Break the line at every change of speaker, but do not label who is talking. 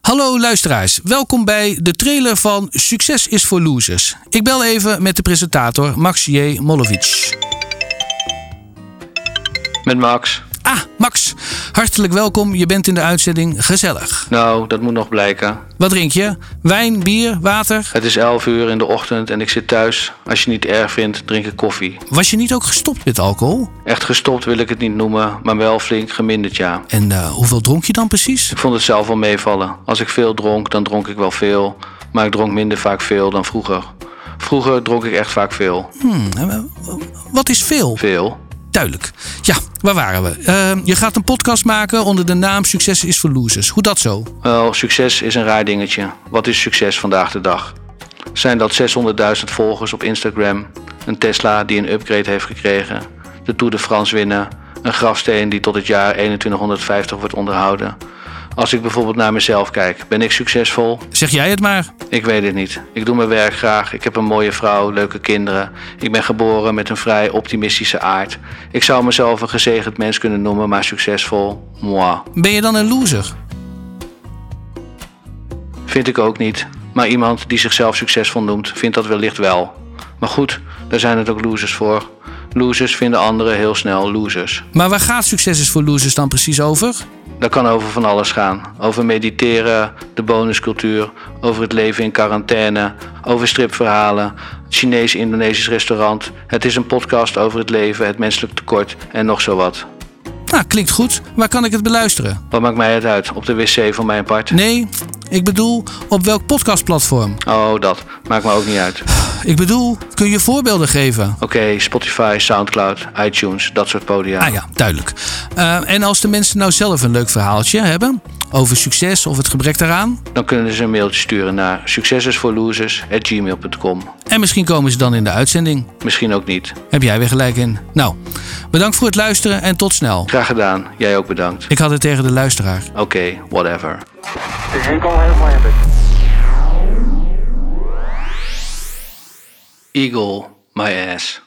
Hallo luisteraars, welkom bij de trailer van Succes is voor Losers. Ik bel even met de presentator Max J. Mollovic.
Met Max.
Ah, Max, hartelijk welkom. Je bent in de uitzending Gezellig.
Nou, dat moet nog blijken.
Wat drink je? Wijn, bier, water?
Het is 11 uur in de ochtend en ik zit thuis. Als je het niet erg vindt, drink ik koffie.
Was je niet ook gestopt met alcohol?
Echt gestopt wil ik het niet noemen, maar wel flink geminderd ja.
En eh, hoeveel dronk je dan precies?
Ik vond het zelf wel meevallen. Als ik veel dronk, dan dronk ik wel veel. Maar ik dronk minder vaak veel dan vroeger. Vroeger dronk ik echt vaak veel.
Hmm, eh, wat is veel?
Veel.
Duidelijk. Ja, waar waren we? Eh, je gaat een podcast maken onder de naam Succes is voor Losers. Hoe dat zo?
Wel, succes is een raar dingetje. Wat is succes vandaag de dag? Zijn dat 600.000 volgers op Instagram, een Tesla die een upgrade heeft gekregen, de Tour de France winnen, een grafsteen die tot het jaar 2150 wordt onderhouden? Als ik bijvoorbeeld naar mezelf kijk, ben ik succesvol?
Zeg jij het maar.
Ik weet het niet. Ik doe mijn werk graag. Ik heb een mooie vrouw, leuke kinderen. Ik ben geboren met een vrij optimistische aard. Ik zou mezelf een gezegend mens kunnen noemen, maar succesvol, moi.
Ben je dan een loser?
Vind ik ook niet. Maar iemand die zichzelf succesvol noemt, vindt dat wellicht wel. Maar goed, daar zijn het ook losers voor. Losers vinden anderen heel snel losers.
Maar waar gaat Succes is voor Losers dan precies over?
Dat kan over van alles gaan. Over mediteren, de bonuscultuur, over het leven in quarantaine, over stripverhalen, Chinees-Indonesisch restaurant. Het is een podcast over het leven, het menselijk tekort en nog zo wat.
Nou, klinkt goed. Waar kan ik het beluisteren?
Wat maakt mij het uit? Op de wc van mijn part?
Nee, ik bedoel, op welk podcastplatform?
Oh, dat. Maakt me ook niet uit.
Ik bedoel, kun je voorbeelden geven?
Oké, Spotify, Soundcloud, iTunes, dat soort podia.
Ah ja, duidelijk. Eh, en als de mensen nou zelf een leuk verhaaltje hebben over succes of het gebrek daaraan,
dan kunnen ze een mailtje sturen naar succesesvoorlosers.gmail.com.
en misschien komen ze dan in de uitzending.
Misschien ook niet.
Heb jij weer gelijk in. Nou, bedankt voor het luisteren en tot snel.
Graag gedaan. Jij ook bedankt.
Ik had het tegen de luisteraar.
Oké, whatever.
The Eagle has landed.
Eagle, my ass.